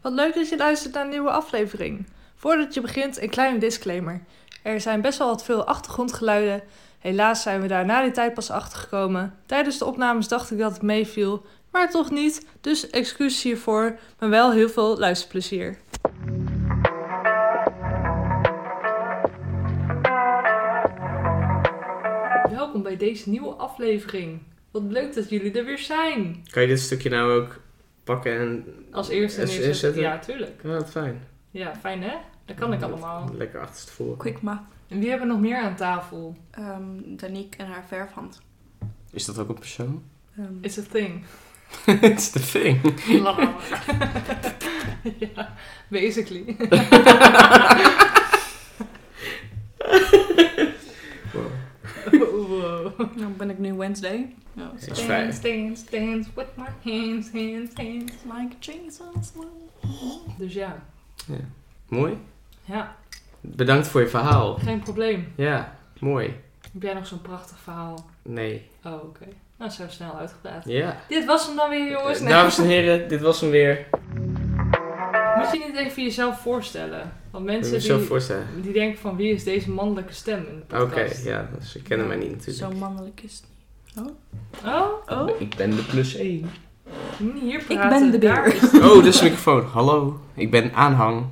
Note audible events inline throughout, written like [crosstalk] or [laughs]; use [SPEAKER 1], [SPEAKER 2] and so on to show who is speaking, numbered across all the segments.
[SPEAKER 1] Wat leuk dat je luistert naar een nieuwe aflevering. Voordat je begint, een kleine disclaimer. Er zijn best wel wat veel achtergrondgeluiden. Helaas zijn we daar na die tijd pas achter gekomen. Tijdens de opnames dacht ik dat het meeviel, maar toch niet. Dus excuus hiervoor, maar wel heel veel luisterplezier. Welkom bij deze nieuwe aflevering. Wat leuk dat jullie er weer zijn.
[SPEAKER 2] Kan je dit stukje nou ook pakken en...
[SPEAKER 1] Als eerste
[SPEAKER 2] Is- is
[SPEAKER 1] neerzetten.
[SPEAKER 2] het een-
[SPEAKER 1] Ja, tuurlijk.
[SPEAKER 2] Ja, wat fijn.
[SPEAKER 1] Ja, fijn hè? Dat kan ik allemaal.
[SPEAKER 2] Lekker achterstevoren.
[SPEAKER 3] Quick math.
[SPEAKER 1] En wie hebben we nog meer aan tafel?
[SPEAKER 3] Ehm Danique en haar verfhand.
[SPEAKER 4] Is dat ook een
[SPEAKER 2] [laughs]
[SPEAKER 4] persoon?
[SPEAKER 3] Ehm,
[SPEAKER 1] It's a thing.
[SPEAKER 4] It's the thing.
[SPEAKER 1] [laughs] ja,
[SPEAKER 2] [laughs]
[SPEAKER 1] basically.
[SPEAKER 2] Wow.
[SPEAKER 1] wow.
[SPEAKER 3] dan nou, ben ik nu Wednesday. Dus Ja,
[SPEAKER 2] is
[SPEAKER 3] dat is
[SPEAKER 2] fijn.
[SPEAKER 1] Dance, dance, dance with my hands, hands, hands.
[SPEAKER 3] Like Jesus.
[SPEAKER 1] Dus ja,
[SPEAKER 2] Mooi.
[SPEAKER 1] ja,
[SPEAKER 2] Bedankt voor je verhaal.
[SPEAKER 1] geen probleem.
[SPEAKER 2] Ja, mooi.
[SPEAKER 1] Heb jij nog zo'n prachtig verhaal?
[SPEAKER 2] Nee.
[SPEAKER 1] Oh, oké. Nou, zo snel uitgepraat.
[SPEAKER 2] Ja.
[SPEAKER 1] Dit was hem dan weer, jongens.
[SPEAKER 2] Eh,
[SPEAKER 1] Nee.
[SPEAKER 2] Dames en heren, dit was hem weer.
[SPEAKER 1] Moet je niet even jezelf voorstellen? Want
[SPEAKER 2] Moet je me
[SPEAKER 1] mensen
[SPEAKER 2] zo
[SPEAKER 1] die,
[SPEAKER 2] voorstellen.
[SPEAKER 1] die denken van wie is deze mannelijke stem in de
[SPEAKER 2] Oké,
[SPEAKER 1] podcast?
[SPEAKER 2] ja, ze kennen mij niet
[SPEAKER 3] Zo
[SPEAKER 2] natuurlijk.
[SPEAKER 3] mannelijk is het
[SPEAKER 1] Oh,
[SPEAKER 3] Oh?
[SPEAKER 4] Ik ben de plus 1.
[SPEAKER 1] niet hier
[SPEAKER 3] ben
[SPEAKER 1] praten.
[SPEAKER 3] de
[SPEAKER 1] daar
[SPEAKER 3] beer.
[SPEAKER 1] is-
[SPEAKER 2] Oh, dit is de microfoon. Hallo, ik ben aanhang.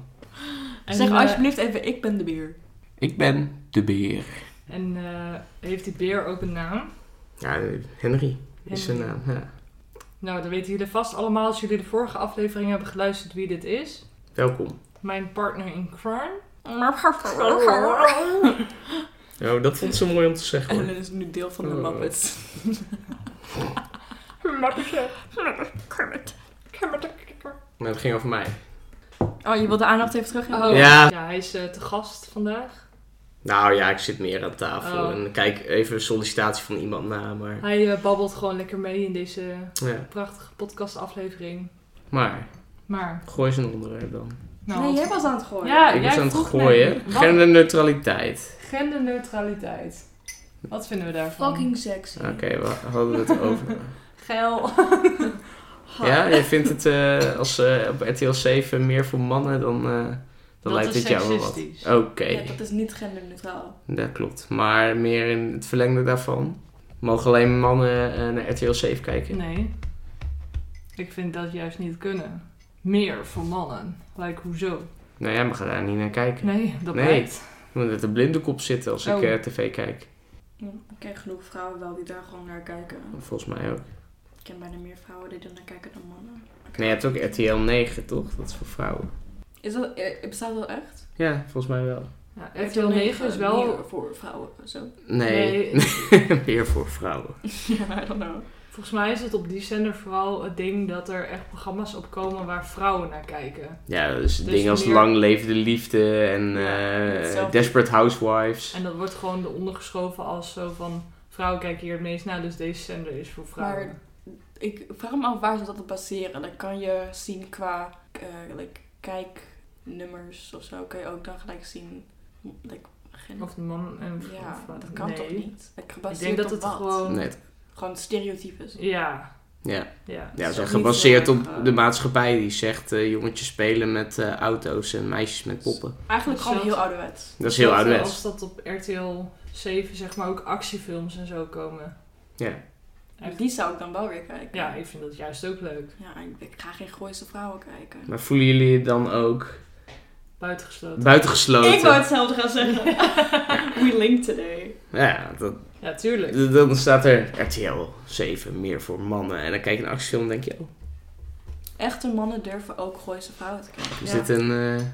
[SPEAKER 1] En,
[SPEAKER 3] zeg
[SPEAKER 1] eh,
[SPEAKER 3] alsjeblieft even, ik ben de
[SPEAKER 1] [laughs]
[SPEAKER 3] bier.
[SPEAKER 4] Ik ben de beer.
[SPEAKER 1] En eh, heeft die beer ook een naam?
[SPEAKER 2] Ja, Henry is zijn naam. Ja.
[SPEAKER 1] Nou, dan weten jullie vast allemaal als jullie de vorige aflevering hebben geluisterd wie dit is.
[SPEAKER 2] Welkom.
[SPEAKER 1] Mijn partner in crime.
[SPEAKER 2] Oh, dat vond ze mooi om te
[SPEAKER 1] [laughs]
[SPEAKER 2] zeggen
[SPEAKER 3] En
[SPEAKER 2] hoor.
[SPEAKER 3] dat is nu deel van de
[SPEAKER 2] Oh.
[SPEAKER 3] Muppets. Oh. Kermit.
[SPEAKER 2] Maar het Nou, ging over mij.
[SPEAKER 3] Oh, je wil de aandacht even terug hebben?
[SPEAKER 1] Oh, ja.
[SPEAKER 2] Ja.
[SPEAKER 1] hij is eh, te gast vandaag.
[SPEAKER 2] Nou ja, ik zit meer aan tafel
[SPEAKER 1] Oh.
[SPEAKER 2] en kijk even een sollicitatie van iemand na, maar...
[SPEAKER 1] Hij eh, babbelt gewoon lekker mee in deze
[SPEAKER 2] Ja,
[SPEAKER 1] prachtige podcastaflevering.
[SPEAKER 2] maar
[SPEAKER 1] Maar,
[SPEAKER 2] gooi ze een onderwerp dan.
[SPEAKER 1] nou...
[SPEAKER 3] Nee, jij was aan het gooien.
[SPEAKER 1] Ja,
[SPEAKER 2] ik
[SPEAKER 1] jij
[SPEAKER 2] was aan het
[SPEAKER 1] vroeg
[SPEAKER 2] gooien.
[SPEAKER 1] mij-
[SPEAKER 2] Genderneutraliteit.
[SPEAKER 1] Genderneutraliteit. Wat vinden we daarvan?
[SPEAKER 3] Fucking sexy.
[SPEAKER 2] Oké, we hadden
[SPEAKER 1] [laughs]
[SPEAKER 2] het over.
[SPEAKER 1] geil.
[SPEAKER 3] Ha.
[SPEAKER 2] ja, je vindt het eh, als eh, op RTL 7 meer voor mannen, dan, eh,
[SPEAKER 1] Dat
[SPEAKER 2] dan
[SPEAKER 1] is
[SPEAKER 2] lijkt dit jou wel wat. Oh.
[SPEAKER 1] seksistisch.
[SPEAKER 2] Oké,
[SPEAKER 3] Ja, dat is niet genderneutraal.
[SPEAKER 2] dat klopt. Maar meer in het verlengde daarvan. Mogen alleen mannen eh, naar RTL 7 kijken?
[SPEAKER 1] Nee. Ik vind dat juist niet kunnen. Meer voor mannen. Like, hoezo?
[SPEAKER 2] Nou, jij mag er daar niet naar kijken.
[SPEAKER 1] Nee, dat
[SPEAKER 2] Nee.
[SPEAKER 1] blijkt.
[SPEAKER 2] Ik moet met een blinde kop zitten als
[SPEAKER 1] Oh.
[SPEAKER 2] ik eh, tv kijk.
[SPEAKER 3] Hm, Ik ken genoeg vrouwen wel die daar gewoon naar kijken.
[SPEAKER 2] Volgens mij ook.
[SPEAKER 3] Ik ken bijna meer vrouwen die er naar kijken dan mannen.
[SPEAKER 2] Nee, je hebt ook RTL 9, toch? Dat is voor vrouwen.
[SPEAKER 3] Is dat, eh, bestaat dat echt?
[SPEAKER 2] Ja, volgens mij wel.
[SPEAKER 1] Ja, RTL 9 is wel...
[SPEAKER 3] Meer voor vrouwen, zo.
[SPEAKER 2] Nee, [laughs] meer voor vrouwen.
[SPEAKER 3] [laughs] Ja, I don't know.
[SPEAKER 1] Volgens mij is het op die zender vooral het ding dat er echt programma's op komen waar vrouwen naar kijken.
[SPEAKER 2] Ja, dus,
[SPEAKER 1] Dus
[SPEAKER 2] dingen als
[SPEAKER 1] meer-
[SPEAKER 2] Lang Leven de Liefde en eh,
[SPEAKER 3] hetzelfde.
[SPEAKER 2] Desperate Housewives.
[SPEAKER 1] En dat wordt gewoon eronder geschoven als zo van... Vrouwen kijken hier het meest naar, dus deze zender is voor vrouwen.
[SPEAKER 3] Maar- Ik vraag me af waar ze dat op baseren. Dan kan je zien qua eh, like, kijknummers of zo. Kan je ook dan gelijk zien. Like, gen-
[SPEAKER 1] Of de man en vrouw.
[SPEAKER 3] ja,
[SPEAKER 1] vrouw.
[SPEAKER 3] dat kan
[SPEAKER 1] Nee.
[SPEAKER 3] toch niet? Like,
[SPEAKER 1] Ik denk
[SPEAKER 3] gebaseerd
[SPEAKER 1] dat het
[SPEAKER 3] op wat? gewoon...
[SPEAKER 1] gewoon...
[SPEAKER 2] Nee, het-
[SPEAKER 3] stereotypes.
[SPEAKER 1] Ja,
[SPEAKER 2] ja.
[SPEAKER 1] ja.
[SPEAKER 2] ja,
[SPEAKER 3] is
[SPEAKER 2] ze zijn
[SPEAKER 3] ook niet
[SPEAKER 2] gebaseerd
[SPEAKER 3] heel
[SPEAKER 2] op
[SPEAKER 3] erg, eh,
[SPEAKER 2] de maatschappij die zegt eh, jongetjes spelen met eh, auto's en meisjes met poppen.
[SPEAKER 3] Eigenlijk gewoon
[SPEAKER 1] Zelfs-
[SPEAKER 3] heel ouderwets.
[SPEAKER 2] Dat is heel
[SPEAKER 1] Hetzelfde
[SPEAKER 2] ouderwets.
[SPEAKER 1] Als Dus dat op RTL 7 zeg maar ook actiefilms en zo komen.
[SPEAKER 2] Ja.
[SPEAKER 1] Echt.
[SPEAKER 3] Die zou ik dan wel weer kijken.
[SPEAKER 1] Ja, ik vind dat juist ook leuk.
[SPEAKER 3] Ja, ik, ik ga geen Gooise vrouwen kijken.
[SPEAKER 2] Maar voelen jullie je dan ook
[SPEAKER 1] Buitengesloten.
[SPEAKER 2] buitengesloten?
[SPEAKER 3] Ik wou hetzelfde gaan zeggen. We link today.
[SPEAKER 2] Ja, dat,
[SPEAKER 1] Ja, tuurlijk.
[SPEAKER 2] d- dan staat er RTL 7, meer voor mannen. En dan kijk je een actiefilm en denk je, oh,
[SPEAKER 3] Echte mannen durven ook Gooise vrouwen te kijken.
[SPEAKER 2] is
[SPEAKER 1] Ja.
[SPEAKER 2] dit een, eh,
[SPEAKER 1] Een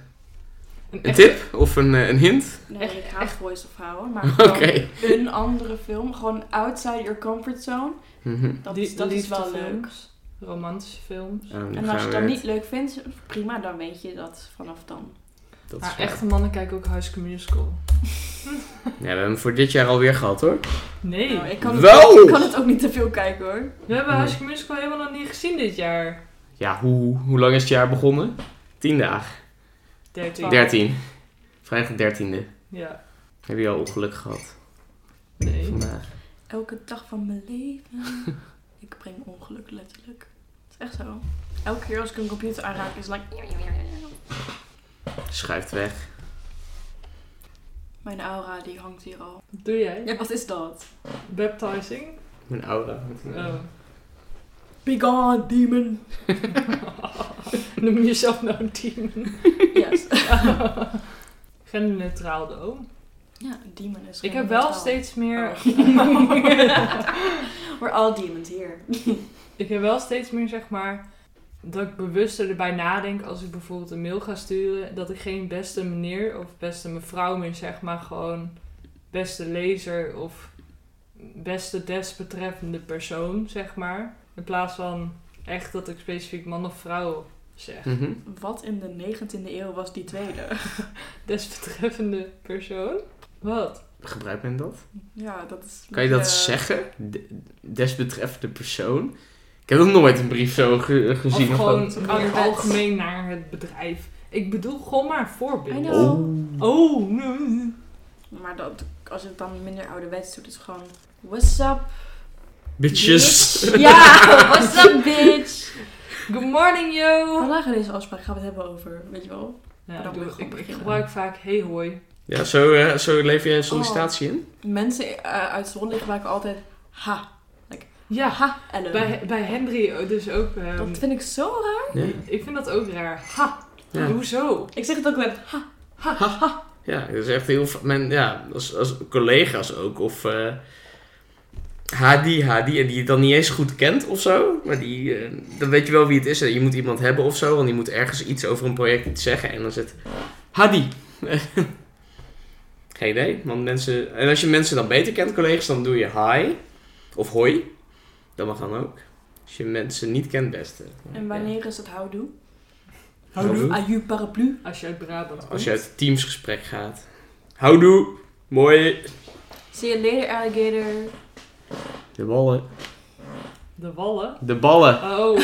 [SPEAKER 2] een
[SPEAKER 1] echte-
[SPEAKER 2] tip of een, eh, een hint?
[SPEAKER 3] Nee,
[SPEAKER 1] Echt-
[SPEAKER 3] ik haat Gooise
[SPEAKER 1] [laughs]
[SPEAKER 3] vrouwen, maar
[SPEAKER 2] Oké.
[SPEAKER 3] gewoon een andere film. Gewoon outside your comfort zone.
[SPEAKER 2] Mhm.
[SPEAKER 3] Dat,
[SPEAKER 1] Die-
[SPEAKER 3] is- dat is wel leuk.
[SPEAKER 1] liefdefilms, Romantische films.
[SPEAKER 2] Oh, nu
[SPEAKER 3] En
[SPEAKER 2] gaan
[SPEAKER 3] als je
[SPEAKER 2] we
[SPEAKER 3] dat
[SPEAKER 2] weer-
[SPEAKER 3] niet leuk vindt, prima, dan weet je dat vanaf dan.
[SPEAKER 2] Dat is
[SPEAKER 1] Maar
[SPEAKER 2] waar.
[SPEAKER 1] echte mannen kijken ook High School Musical.
[SPEAKER 2] Ja, we hebben hem voor dit jaar alweer gehad hoor.
[SPEAKER 1] Nee.
[SPEAKER 3] Nou, ik, kan het,
[SPEAKER 2] Wel!
[SPEAKER 3] ik kan het ook niet te veel kijken hoor.
[SPEAKER 1] We hebben
[SPEAKER 2] Nee.
[SPEAKER 1] High School Musical helemaal nog niet gezien dit jaar.
[SPEAKER 2] Ja, hoe, hoe lang is het jaar begonnen? Tien dagen.
[SPEAKER 1] 13.
[SPEAKER 2] 13. Vrijdag de dertiende.
[SPEAKER 1] Ja.
[SPEAKER 2] Heb je al ongeluk gehad
[SPEAKER 1] Nee.
[SPEAKER 2] vandaag?
[SPEAKER 3] Elke dag van mijn
[SPEAKER 1] [laughs]
[SPEAKER 3] leven. ik breng ongeluk letterlijk. Het is echt zo. Elke keer als ik een computer aanraak is het like...
[SPEAKER 2] Schuift weg.
[SPEAKER 3] Mijn aura die hangt hier al.
[SPEAKER 1] Doe jij?
[SPEAKER 3] Ja, wat is dat?
[SPEAKER 1] Baptizing?
[SPEAKER 2] Mijn aura. eh,
[SPEAKER 1] Oh. [laughs]
[SPEAKER 3] Be gone, demon.
[SPEAKER 1] Noem je jezelf nou een demon?
[SPEAKER 3] [laughs] Yes.
[SPEAKER 1] [laughs] Genderneutraal dan.
[SPEAKER 3] ja, demon is
[SPEAKER 1] Ik
[SPEAKER 3] gewoon
[SPEAKER 1] heb wel
[SPEAKER 3] neutraal.
[SPEAKER 1] steeds meer... [laughs]
[SPEAKER 3] Oh. [laughs] We're all demons here.
[SPEAKER 1] Ik heb wel steeds meer, zeg maar, dat ik bewuster erbij nadenk als ik bijvoorbeeld een mail ga sturen. Dat ik geen beste meneer of beste mevrouw meer zeg, maar gewoon beste lezer of beste desbetreffende persoon, zeg maar. In plaats van echt dat ik specifiek man of vrouw zeg. [laughs]
[SPEAKER 2] Mhm.
[SPEAKER 3] Wat in de 19e eeuw was die tweede?
[SPEAKER 1] Desbetreffende persoon? Wat?
[SPEAKER 2] Gebruikt men dat?
[SPEAKER 3] Ja, dat is...
[SPEAKER 2] Kan je dat
[SPEAKER 3] eh,
[SPEAKER 2] zeggen? De, desbetreffende persoon? Ik heb ook nooit een brief zo ge- eh, gezien.
[SPEAKER 1] Of gewoon
[SPEAKER 3] gewoon-
[SPEAKER 1] al-
[SPEAKER 3] Meer wet.
[SPEAKER 1] algemeen naar het bedrijf. Ik bedoel gewoon maar een
[SPEAKER 3] I
[SPEAKER 1] voorbeeld.
[SPEAKER 3] know.
[SPEAKER 1] Oh, nee.
[SPEAKER 3] Maar dat, als je het dan minder ouderwets doet, is het gewoon... What's up,
[SPEAKER 2] Bitches.
[SPEAKER 1] [laughs]
[SPEAKER 3] bitch? Ja, what's up, bitch?
[SPEAKER 1] Good morning, yo!
[SPEAKER 3] Vandaag in deze afspraak gaan we het hebben over, weet je wel?
[SPEAKER 1] Ja,
[SPEAKER 3] Maar dan
[SPEAKER 1] ik doe-
[SPEAKER 3] moet je
[SPEAKER 1] ik,
[SPEAKER 3] gewoon
[SPEAKER 1] ik
[SPEAKER 3] beginnen.
[SPEAKER 1] gebruik vaak hey hoi.
[SPEAKER 2] [laughs] Ja, zo, eh, zo leef je een
[SPEAKER 1] Oh.
[SPEAKER 2] sollicitatie in.
[SPEAKER 3] Mensen eh, uit Zwolle gebruiken altijd ha.
[SPEAKER 1] Ja,
[SPEAKER 3] Ha, Ellen.
[SPEAKER 1] bij, bij Henry dus ook. ehm,
[SPEAKER 3] Dat vind ik zo raar.
[SPEAKER 2] Ja.
[SPEAKER 1] Ik vind dat ook raar. Ha,
[SPEAKER 2] Ja.
[SPEAKER 1] hoezo?
[SPEAKER 3] Ik zeg het ook met...
[SPEAKER 2] Ja, dat is echt heel... va- Men, ja, als, als collega's ook. Of eh Hadi, Hadi. En die je dan niet eens goed kent of zo. Maar die, eh, dan weet je wel wie het is. Je moet iemand hebben of zo. Want die moet ergens iets over een project iets zeggen. En dan zit Hadi. [laughs] Geen idee. Want mensen, en als je mensen dan beter kent, collega's, dan doe je hi. Of hoi. Dat mag dan ook. Als je mensen niet kent, beste.
[SPEAKER 3] En wanneer is het houdoe?
[SPEAKER 2] Houdoe.
[SPEAKER 3] Aju paraplu.
[SPEAKER 1] Als je uit Brabant komt.
[SPEAKER 2] Als je uit het teamsgesprek gaat. Houdoe. Mooi.
[SPEAKER 3] See you later, alligator.
[SPEAKER 2] De ballen.
[SPEAKER 1] De wallen.
[SPEAKER 2] De ballen.
[SPEAKER 1] Oh,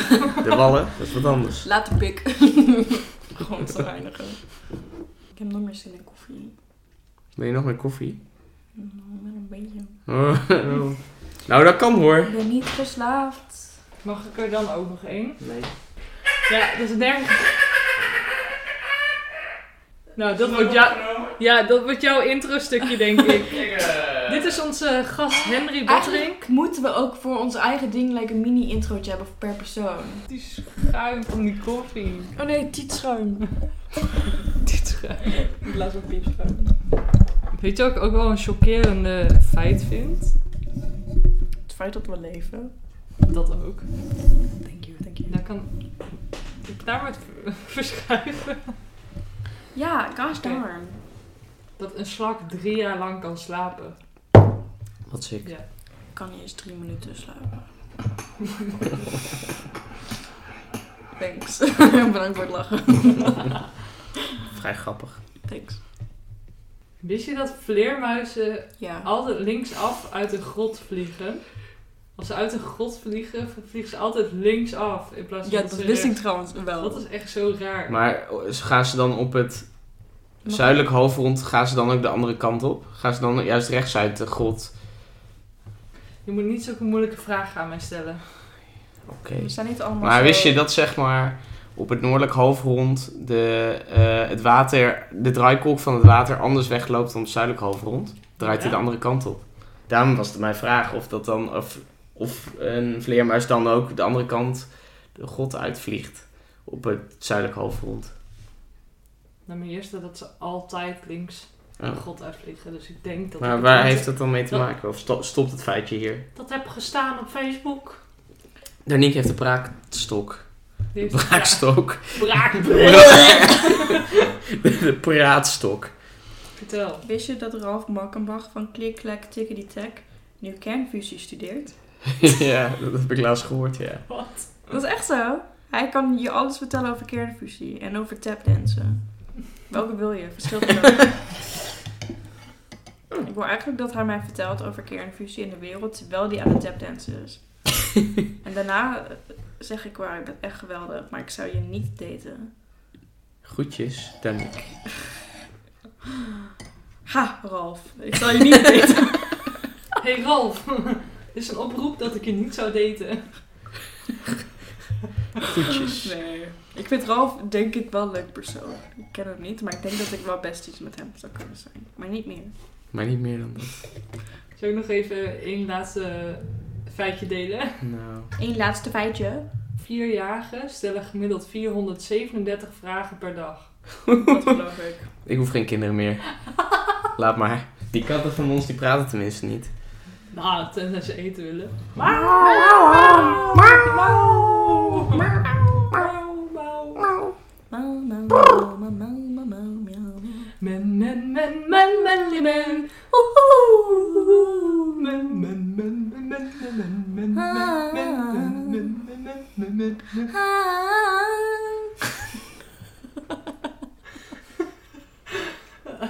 [SPEAKER 2] De wallen, dat is wat anders.
[SPEAKER 3] Later pik. [laughs] Gewoon te reinigen. Ik heb nog meer zin in koffie.
[SPEAKER 2] Wil je nog meer koffie? [laughs]
[SPEAKER 3] Mm, Ik ben een beetje...
[SPEAKER 2] Oh, oh. Nou, dat kan hoor.
[SPEAKER 3] Ik ben niet verslaafd.
[SPEAKER 1] mag ik er dan ook nog één?
[SPEAKER 2] Nee.
[SPEAKER 1] Ja, dat is nergens. Nou, dat wordt, jou, ja, dat wordt jouw intro-stukje, denk
[SPEAKER 2] [laughs]
[SPEAKER 1] ik.
[SPEAKER 2] eh,
[SPEAKER 1] Dit is onze gast Henry Bottering.
[SPEAKER 3] Eigenlijk moeten we ook voor ons eigen ding like, een mini-introotje hebben per persoon.
[SPEAKER 1] Die schuim van die koffie.
[SPEAKER 3] Oh nee, tietschuim.
[SPEAKER 2] [laughs]
[SPEAKER 1] Dit schuim.
[SPEAKER 3] Ik laat een piepschuim.
[SPEAKER 1] Weet je wat ik ook wel een chockerende feit vind?
[SPEAKER 3] Het feit dat we leven.
[SPEAKER 1] Dat ook.
[SPEAKER 3] Thank you, thank you.
[SPEAKER 1] Dan kan ik daar maar [laughs] het verschuiven.
[SPEAKER 3] Ja, gosh
[SPEAKER 1] Oké.
[SPEAKER 3] darn.
[SPEAKER 1] Dat een slak drie jaar lang kan slapen.
[SPEAKER 2] Wat ziek.
[SPEAKER 3] Ik kan niet eens drie minuten [laughs] slapen. Thanks. [laughs] Bedankt voor het lachen.
[SPEAKER 2] Vrij grappig.
[SPEAKER 3] Thanks.
[SPEAKER 1] Wist je dat vleermuizen
[SPEAKER 3] Ja.
[SPEAKER 1] altijd linksaf uit een grot vliegen? Als ze uit een grot vliegen, vliegen ze altijd linksaf. In plaats van
[SPEAKER 3] Ja,
[SPEAKER 1] dat
[SPEAKER 3] dat
[SPEAKER 1] ze
[SPEAKER 3] wist ik
[SPEAKER 1] rechts-
[SPEAKER 3] trouwens wel.
[SPEAKER 1] Dat is echt zo raar.
[SPEAKER 2] Maar oh, ze- gaan ze dan op het zuidelijk halfrond, gaan ze dan ook de andere kant op? Gaan ze dan juist rechts uit de grot?
[SPEAKER 1] Je moet niet zulke moeilijke vragen aan mij stellen.
[SPEAKER 2] Oké.
[SPEAKER 3] We zijn niet allemaal
[SPEAKER 2] Maar
[SPEAKER 3] zo-
[SPEAKER 2] wist je dat zeg maar op het noordelijk halfrond de, eh, het water, de draaikolk van het water anders wegloopt dan op het zuidelijk halfrond? Draait hij
[SPEAKER 1] Ja.
[SPEAKER 2] de andere kant op? Daarom was het mijn vraag of dat dan of, of een vleermuis dan ook de andere kant de god uitvliegt op het zuidelijk halfrond.
[SPEAKER 1] Nou, mijn eerste dat ze altijd links
[SPEAKER 2] Oh.
[SPEAKER 1] een grot uitvliegen. Dus ik denk dat ik
[SPEAKER 2] Maar
[SPEAKER 1] het
[SPEAKER 2] waar
[SPEAKER 1] niet-
[SPEAKER 2] heeft dat dan mee te
[SPEAKER 1] dat-
[SPEAKER 2] maken? Of sto- stopt het feitje hier?
[SPEAKER 1] Dat heb gestaan op Facebook.
[SPEAKER 2] Daniek heeft de praakstok.
[SPEAKER 1] Die
[SPEAKER 2] De
[SPEAKER 1] heeft-
[SPEAKER 2] praakstok.
[SPEAKER 1] Ja, braak.
[SPEAKER 2] [laughs] De praatstok.
[SPEAKER 1] Vertel.
[SPEAKER 3] Wist je dat Ralf Makkenbach van Klik Klak Tickety Tack nu kernfusie studeert?
[SPEAKER 2] [laughs] ja, dat heb ik laatst gehoord, ja.
[SPEAKER 1] Wat?
[SPEAKER 3] Dat is echt zo. Hij kan je alles vertellen over kernfusie en over tapdansen. Welke wil je? Verschil er ook. Ik wil eigenlijk dat hij mij vertelt over kernfusie in de wereld, terwijl die aan het tapdansen is. en daarna eh, zeg ik waar, ik ben echt geweldig, maar ik zou je niet daten. [gasps]
[SPEAKER 2] Groetjes, Daniek.
[SPEAKER 3] Ha, Ralf. Ik zal je niet daten.
[SPEAKER 1] Hey [laughs] Ralf, dit is een oproep dat ik je niet zou daten.
[SPEAKER 2] Goedjes.
[SPEAKER 3] Nee. Ik vind Ralf denk ik wel een leuk persoon. Ik ken hem niet, maar ik denk dat ik wel best iets met hem zou kunnen zijn. Maar niet meer.
[SPEAKER 4] Maar niet meer dan dat.
[SPEAKER 1] Zal ik nog even één laatste feitje delen?
[SPEAKER 4] Nou.
[SPEAKER 3] Eén laatste feitje.
[SPEAKER 1] Vierjarigen stellen gemiddeld 437 vragen per dag.
[SPEAKER 3] Dat geloof ik.
[SPEAKER 4] Ik hoef geen kinderen meer. Laat maar. Die katten van ons die praten tenminste niet.
[SPEAKER 1] Nou, tenzij ze eten willen.
[SPEAKER 3] Mau, mau, mau, mau, mau, mau, mau, miauw.
[SPEAKER 1] Men, men, men, men, men, li, men. Oehoe. Men, men, men, men, men, men, men, men, men, men, men, men, men, men, men, men.
[SPEAKER 3] Ah.
[SPEAKER 1] Ah.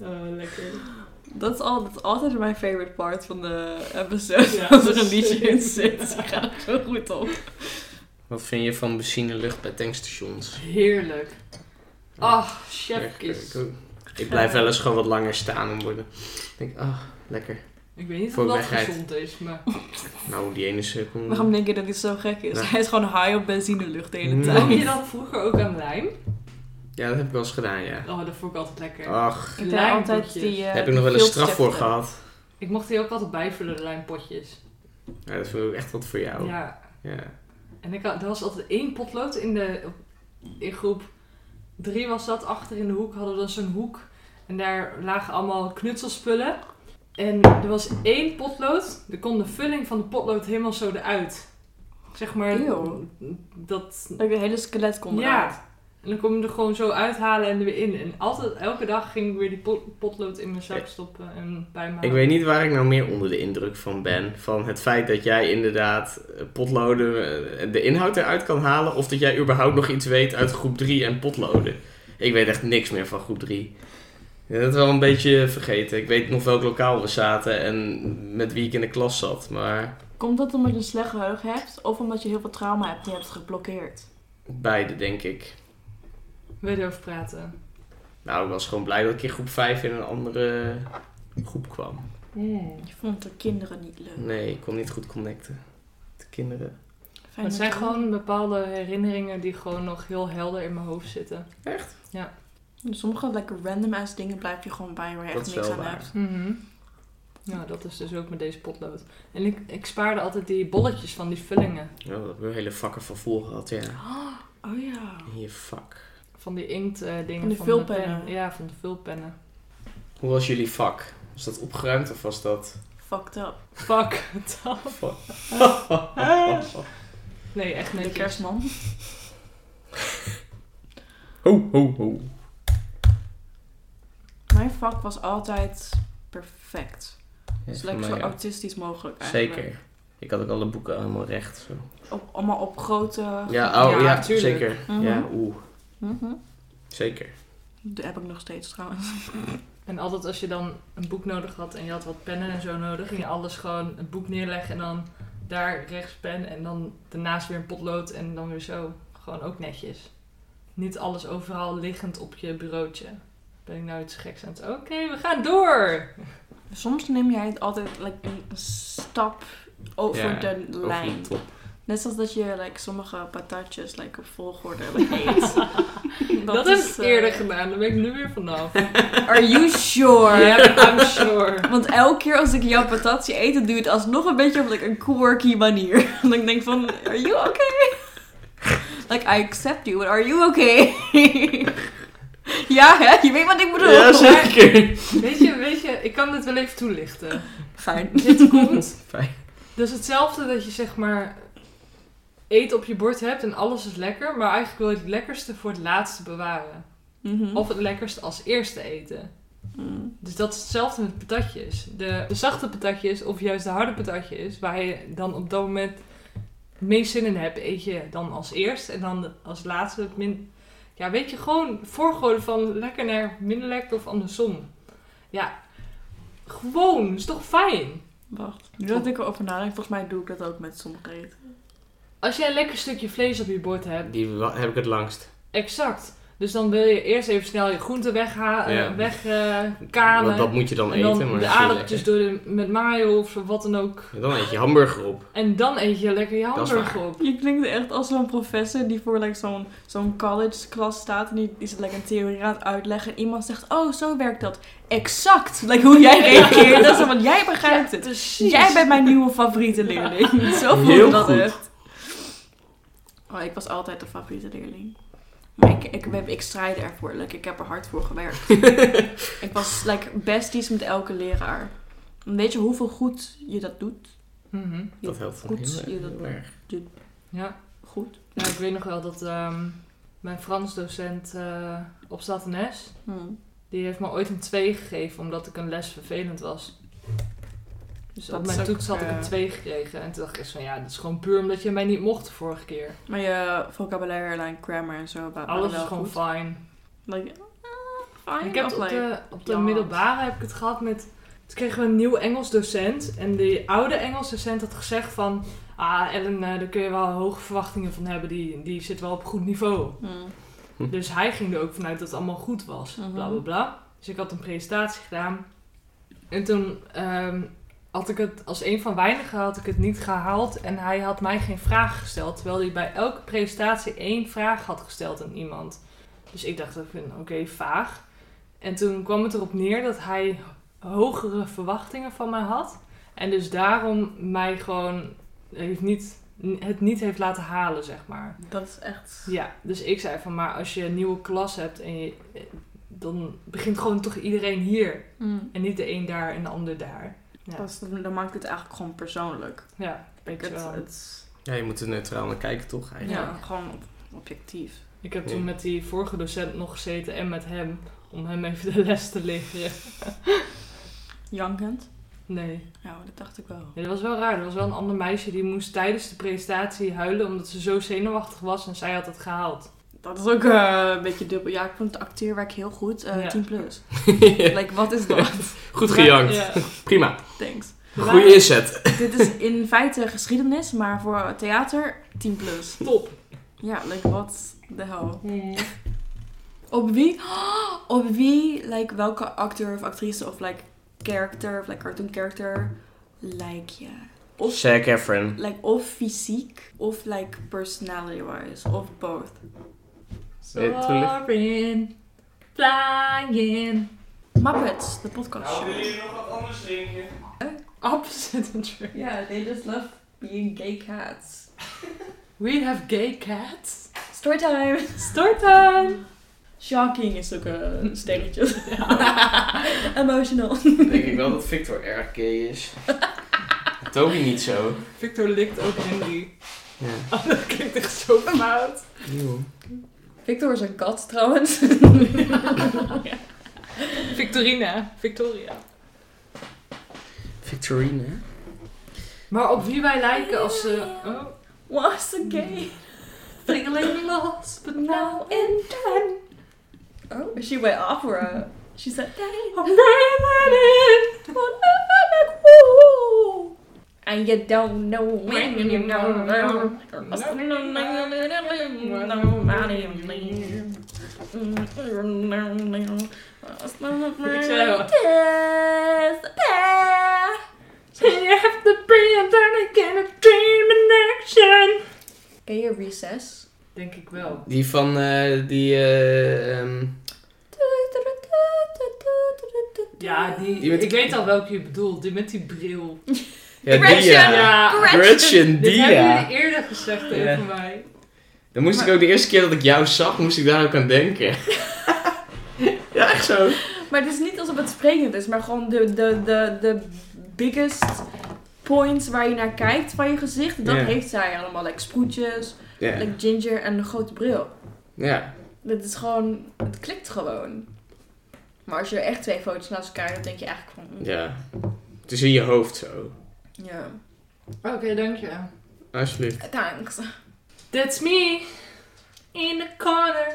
[SPEAKER 1] Oh, lekker.
[SPEAKER 3] [laughs] Dat is, al, dat is altijd mijn favorite part van de episode.
[SPEAKER 1] Ja,
[SPEAKER 3] als er een
[SPEAKER 1] dat is-
[SPEAKER 3] liedje in zit. Ik ga er zo goed op.
[SPEAKER 2] Wat vind je van benzinelucht bij tankstations?
[SPEAKER 1] Heerlijk. Ach,
[SPEAKER 2] Echt, eh,
[SPEAKER 1] chefkis.
[SPEAKER 2] ik ook. Ik blijf wel eens gewoon wat langer staan en worden. Ik denk, ah, lekker.
[SPEAKER 1] Ik weet niet
[SPEAKER 2] Voor
[SPEAKER 1] of dat
[SPEAKER 2] wegrijdt.
[SPEAKER 1] gezond is, maar...
[SPEAKER 2] Nou, die ene seconde.
[SPEAKER 3] [laughs] Waarom denk je dat dit zo gek is?
[SPEAKER 2] Ja.
[SPEAKER 3] Hij is gewoon high op benzinelucht de hele
[SPEAKER 4] Mm.
[SPEAKER 3] tijd.
[SPEAKER 1] Dronk
[SPEAKER 3] [laughs]
[SPEAKER 1] je dat vroeger ook aan lijm?
[SPEAKER 2] Ja, dat heb ik wel eens gedaan, ja.
[SPEAKER 1] Oh, dat vond ik altijd lekker.
[SPEAKER 2] Ach,
[SPEAKER 3] Ik heb altijd
[SPEAKER 1] Lijmpotjes.
[SPEAKER 3] die. eh,
[SPEAKER 2] daar heb ik nog wel eens straf voor
[SPEAKER 3] filterchefte.
[SPEAKER 2] gehad.
[SPEAKER 1] Ik mocht die ook altijd bijvullen, de lijmpotjes.
[SPEAKER 2] Ja, dat vind ik ook echt wat voor jou. Ja.
[SPEAKER 1] Ja. En ik had, er was altijd één potlood in, de, op- in groep drie was dat. Achter in de hoek hadden we dan zo'n hoek. En daar lagen allemaal knutselspullen. En er was één potlood. Er kon de vulling van de potlood helemaal zo eruit. Zeg maar,
[SPEAKER 3] Eeuw.
[SPEAKER 1] dat...
[SPEAKER 3] Dat ik een hele skelet kon
[SPEAKER 1] ja.
[SPEAKER 3] eruit.
[SPEAKER 1] En dan kon je hem er gewoon zo uithalen en er weer in. En altijd, elke dag ging ik weer die pot- potlood in mijn zak stoppen en bij me
[SPEAKER 2] Ik
[SPEAKER 1] halen.
[SPEAKER 2] weet niet waar ik nou meer onder de indruk van ben. Van het feit dat jij inderdaad eh, potloden, eh, de inhoud eruit kan halen. Of dat jij überhaupt nog iets weet uit groep 3 en potloden. Ik weet echt niks meer van groep 3. Ja, dat is wel een beetje vergeten. Ik weet nog welk lokaal we zaten en met wie ik in de klas zat. Maar
[SPEAKER 3] Komt dat omdat je een slecht geheugen hebt of omdat je heel veel trauma hebt en je hebt het geblokkeerd?
[SPEAKER 2] beide, denk ik.
[SPEAKER 1] Wil je erover praten?
[SPEAKER 2] Nou, ik was gewoon blij dat ik in groep 5 in een andere groep kwam.
[SPEAKER 3] Je vond de kinderen niet leuk.
[SPEAKER 2] Nee, ik kon niet goed connecten. De kinderen.
[SPEAKER 3] Fijn
[SPEAKER 1] Het
[SPEAKER 3] dat
[SPEAKER 1] zijn
[SPEAKER 3] je-
[SPEAKER 1] gewoon bepaalde herinneringen die gewoon nog heel helder in mijn hoofd zitten.
[SPEAKER 3] Sommige lekker random ass dingen blijf je gewoon bij waar je
[SPEAKER 2] Dat
[SPEAKER 3] echt
[SPEAKER 2] is
[SPEAKER 3] niks
[SPEAKER 2] wel
[SPEAKER 3] aan
[SPEAKER 2] waar.
[SPEAKER 3] hebt.
[SPEAKER 1] Nou, Mhm. dat is dus ook met deze potlood. En ik, ik spaarde altijd die bolletjes van die vullingen.
[SPEAKER 2] Ja, dat hebben we hele vakken van vol gehad, ja.
[SPEAKER 3] Oh ja.
[SPEAKER 2] In je vak.
[SPEAKER 1] Van die inkt eh, dingen.
[SPEAKER 3] Van die vulpennen.
[SPEAKER 1] pen. Ja, van de vulpennen.
[SPEAKER 2] Hoe was jullie vak? Was dat opgeruimd of was dat...
[SPEAKER 3] Fucked up.
[SPEAKER 1] Fuck, [laughs] dat.
[SPEAKER 2] [laughs]
[SPEAKER 1] Nee, echt
[SPEAKER 3] De
[SPEAKER 1] netjes.
[SPEAKER 3] kerstman.
[SPEAKER 2] Ho, ho, ho.
[SPEAKER 3] Mijn vak was altijd perfect. Dus lekker zo autistisch mogelijk eigenlijk.
[SPEAKER 2] Zeker. Ik had ook alle boeken allemaal recht. Zo.
[SPEAKER 3] Op, allemaal op grote...
[SPEAKER 2] Ja, oh,
[SPEAKER 1] Ja,
[SPEAKER 2] ja,
[SPEAKER 1] tuurlijk.
[SPEAKER 2] zeker.
[SPEAKER 3] Mhm.
[SPEAKER 2] Ja, oeh.
[SPEAKER 3] Mhm.
[SPEAKER 2] Zeker.
[SPEAKER 3] Dat heb ik nog steeds trouwens.
[SPEAKER 1] En altijd als je dan een boek nodig had en je had wat pennen en zo nodig, ging je alles gewoon het boek neerleggen en dan daar rechts pen en dan daarnaast weer een potlood en dan weer zo. Gewoon ook netjes. Niet alles overal liggend op je bureautje. Ben ik nou iets geks aan het... Oké, we gaan door!
[SPEAKER 3] Soms neem jij het altijd like, een stap over
[SPEAKER 2] Ja,
[SPEAKER 3] de
[SPEAKER 2] Over
[SPEAKER 3] lijn.
[SPEAKER 2] de top.
[SPEAKER 3] Net zoals dat je like, sommige patatjes like, op volgorde [laughs] eet.
[SPEAKER 1] [laughs] Dat, heb ik
[SPEAKER 3] eh,
[SPEAKER 1] eerder gedaan, daar ben ik nu weer nou, vanaf.
[SPEAKER 3] Are you sure?
[SPEAKER 1] Yep, I'm sure.
[SPEAKER 3] Want elke keer als ik jouw patatje eet, dan doe je het alsnog een beetje op like, een quirky manier. [laughs] Dan denk ik van, are you okay? [laughs] Like, I accept you, but are you okay? [laughs] ja, hè? Je weet wat ik bedoel.
[SPEAKER 2] Ja, zeker.
[SPEAKER 1] [laughs] Weet je, weet je, ik kan dit wel even toelichten.
[SPEAKER 3] Fijn.
[SPEAKER 1] Dit komt
[SPEAKER 2] Fijn.
[SPEAKER 1] Dus hetzelfde dat je zeg maar eten op je bord hebt en alles is lekker, maar eigenlijk wil je het lekkerste voor het laatste bewaren.
[SPEAKER 3] [laughs] Mhm.
[SPEAKER 1] Of het lekkerste als eerste eten.
[SPEAKER 3] Mm.
[SPEAKER 1] Dus dat is hetzelfde met patatjes. De, de zachte patatjes of juist de harde patatjes, waar je dan op dat moment het meest zin in hebt, eet je dan als eerst en dan als laatste het min. Ja, weet je, gewoon voorgooien van lekker naar minder lekker of andersom. Ja, gewoon, is toch fijn?
[SPEAKER 3] Wacht. Nu dat ik erover nadenk, volgens mij doe ik dat ook met sommige eten.
[SPEAKER 1] Als jij een lekker stukje vlees op je bord hebt,
[SPEAKER 2] Die wa- heb ik het langst.
[SPEAKER 1] Exact. Dus dan wil je eerst even snel je groenten wegkamen.
[SPEAKER 4] Ja.
[SPEAKER 1] weg, eh, kamen.
[SPEAKER 4] Want dat moet je dan
[SPEAKER 1] en dan
[SPEAKER 4] eten. Maar
[SPEAKER 1] de
[SPEAKER 4] dat is niet
[SPEAKER 1] aardappeltjes door de, met mayo of wat dan ook.
[SPEAKER 3] dus
[SPEAKER 4] lekker. Dan eet je hamburger op.
[SPEAKER 1] En dan eet je lekker je
[SPEAKER 4] Dat is
[SPEAKER 1] hamburger op.
[SPEAKER 3] Je klinkt echt als zo'n professor die voor like, zo'n zo'n college klas staat. En die, die zit lekker een theorie aan het uitleggen. En iemand zegt, oh, zo werkt dat. Exact. Like, hoe [laughs] jij reageert. dat is, want jij begrijpt het.
[SPEAKER 1] Precies.
[SPEAKER 3] Jij bent mijn nieuwe favoriete
[SPEAKER 2] [laughs]
[SPEAKER 3] leerling. Zo voelde
[SPEAKER 4] Heel
[SPEAKER 3] dat
[SPEAKER 4] goed.
[SPEAKER 3] echt. Oh, ik was altijd de favoriete leerling. Maar ik, ik, ik, ik strijd ervoor. Like, ik heb er hard voor
[SPEAKER 2] [laughs]
[SPEAKER 3] gewerkt. ik was like, besties met elke leraar. En Weet je hoeveel goed je dat doet?
[SPEAKER 1] Mhm.
[SPEAKER 2] Dat helpt
[SPEAKER 3] Goed,
[SPEAKER 2] heel erg,
[SPEAKER 3] je dat-
[SPEAKER 2] heel erg.
[SPEAKER 1] Ja.
[SPEAKER 3] Goed.
[SPEAKER 1] Nou, ik weet nog wel dat ehm, mijn Frans docent eh, op Statenes,
[SPEAKER 3] Hm.
[SPEAKER 1] die heeft me ooit een 2 gegeven omdat ik een les vervelend was. Dus
[SPEAKER 3] Dat
[SPEAKER 1] op
[SPEAKER 3] is
[SPEAKER 1] mijn
[SPEAKER 3] ook,
[SPEAKER 1] toets had ik
[SPEAKER 3] eh,
[SPEAKER 1] een 2 gekregen. En toen dacht ik eens van ja, dat is gewoon puur omdat je mij niet mocht de vorige keer.
[SPEAKER 3] Maar je eh, vocabulaire, en grammar en zo. waren
[SPEAKER 1] Alles
[SPEAKER 3] wel
[SPEAKER 1] is gewoon
[SPEAKER 3] goed.
[SPEAKER 1] fijn.
[SPEAKER 3] Like, ah, fine.
[SPEAKER 1] Ik heb
[SPEAKER 3] of
[SPEAKER 1] het op
[SPEAKER 3] like-
[SPEAKER 1] de, op de
[SPEAKER 3] ja.
[SPEAKER 1] middelbare heb ik het gehad met... Toen kregen we een nieuw Engels docent. En die oude Engels docent had gezegd van... Ah, Ellen, eh, daar kun je wel hoge verwachtingen van hebben. Die, die zit wel op goed niveau.
[SPEAKER 3] Hm.
[SPEAKER 1] Dus hij ging er ook vanuit dat het allemaal goed was.
[SPEAKER 3] Mhm.
[SPEAKER 1] Bla bla bla. Dus ik had een presentatie gedaan. En toen ehm, had ik het als een van weinigen had ik het niet gehaald. En hij had mij geen vragen gesteld. Terwijl hij bij elke presentatie één vraag had gesteld aan iemand. Dus ik dacht, ik vind oké, vaag. En toen kwam het erop neer dat hij hogere verwachtingen van mij had. En dus daarom mij gewoon heeft niet, het niet heeft laten halen, zeg maar.
[SPEAKER 3] Dat is echt...
[SPEAKER 1] Ja, dus ik zei van, maar als je een nieuwe klas hebt en je, eh, dan begint gewoon toch iedereen hier.
[SPEAKER 3] Hm.
[SPEAKER 1] En niet de een daar en de ander daar. Ja.
[SPEAKER 3] Dat is- dan maakt het eigenlijk gewoon persoonlijk.
[SPEAKER 1] Ja, ik,
[SPEAKER 3] Het,
[SPEAKER 1] wel.
[SPEAKER 3] het,
[SPEAKER 4] Ja, je moet er neutraal naar kijken toch
[SPEAKER 3] ja,
[SPEAKER 4] eigenlijk.
[SPEAKER 3] gewoon ob- objectief.
[SPEAKER 1] ik heb toen met die vorige docent nog gezeten en met hem. Om hem even de les te leveren.
[SPEAKER 3] Jankend?
[SPEAKER 1] Nee.
[SPEAKER 3] Ja, dat dacht ik wel.
[SPEAKER 1] nee, dat was wel raar. Er was wel een ander meisje die moest tijdens de presentatie huilen omdat ze zo zenuwachtig was en zij had het gehaald.
[SPEAKER 3] Dat is ook eh, een beetje dubbel. Ja, ik vond het acteerwerk heel goed. eh,
[SPEAKER 1] Ja.
[SPEAKER 3] 10 plus.
[SPEAKER 2] [laughs]
[SPEAKER 3] like, wat is dat?
[SPEAKER 4] Goed gejankt.
[SPEAKER 1] Ja.
[SPEAKER 4] Prima.
[SPEAKER 3] Thanks.
[SPEAKER 4] Goeie inzet.
[SPEAKER 3] Dit is in feite geschiedenis, maar voor theater 10 plus.
[SPEAKER 1] Top.
[SPEAKER 3] Ja, like, wat de hel. Op wie? [gasps] Op wie, like, welke acteur of actrice of like character of like cartoon character lijk je? Of,
[SPEAKER 4] Zac Efron.
[SPEAKER 3] like, of fysiek of like personality wise of both.
[SPEAKER 4] Eh, toelicht-
[SPEAKER 1] Soaring, flying,
[SPEAKER 3] Muppets, de podcast show.
[SPEAKER 4] nog wat anders drinken?
[SPEAKER 1] opposite attraction.
[SPEAKER 3] Yeah, they just love being gay cats.
[SPEAKER 1] We have gay cats.
[SPEAKER 3] Storytime!
[SPEAKER 1] Storytime!
[SPEAKER 3] Shocking is ook een sterretje. Emotional.
[SPEAKER 4] Denk ik wel dat Victor erg gay [laughs] is. Toby niet zo.
[SPEAKER 1] [laughs] Victor likt ook Henry.
[SPEAKER 4] Ja.
[SPEAKER 1] [laughs] Oh, dat klinkt echt zo fout.
[SPEAKER 3] Victor is een kat trouwens.
[SPEAKER 1] Victorina. Victoria.
[SPEAKER 4] Victorine.
[SPEAKER 1] Maar op wie wij lijken als ze... Oh.
[SPEAKER 3] Was a gay.
[SPEAKER 1] Feeling lost, but now in
[SPEAKER 3] Oh, she went opera. She said, And you don't know when you know now.
[SPEAKER 1] Ik
[SPEAKER 3] Ik
[SPEAKER 1] zei al.
[SPEAKER 3] You have to breathe and again a dream in action. Ken je Recess?
[SPEAKER 1] Denk ik wel.
[SPEAKER 4] Die van eh, die. eh, ehm,
[SPEAKER 1] Ja, die...
[SPEAKER 4] Die met-
[SPEAKER 1] Ik weet al welke je bedoelt. Die met die bril.
[SPEAKER 4] ja,
[SPEAKER 3] Gretchen!
[SPEAKER 4] die eh, ja.
[SPEAKER 1] Ja.
[SPEAKER 4] Gretchen,
[SPEAKER 1] Dit
[SPEAKER 4] die
[SPEAKER 1] hebben
[SPEAKER 4] ja.
[SPEAKER 1] jullie eerder gezegd over
[SPEAKER 4] Ja.
[SPEAKER 1] mij.
[SPEAKER 4] Dan moest ik ook de eerste keer dat ik jou zag, moest ik daar ook aan denken. [laughs] ja, echt zo.
[SPEAKER 3] Maar het is niet alsof het sprekend is, maar gewoon de, de, de, de biggest points waar je naar kijkt van je gezicht. Dat
[SPEAKER 4] Ja.
[SPEAKER 3] heeft zij allemaal. Like sproetjes,
[SPEAKER 4] Ja.
[SPEAKER 3] like ginger en een grote bril.
[SPEAKER 4] ja.
[SPEAKER 3] Dit is gewoon, het klikt gewoon. Maar als je echt twee foto's naast elkaar hebt, denk je eigenlijk van... mm,
[SPEAKER 4] Ja. Het is in je hoofd zo.
[SPEAKER 3] Ja.
[SPEAKER 1] Oké, dank je.
[SPEAKER 4] Alsjeblieft.
[SPEAKER 3] Thanks.
[SPEAKER 1] That's me. In the corner.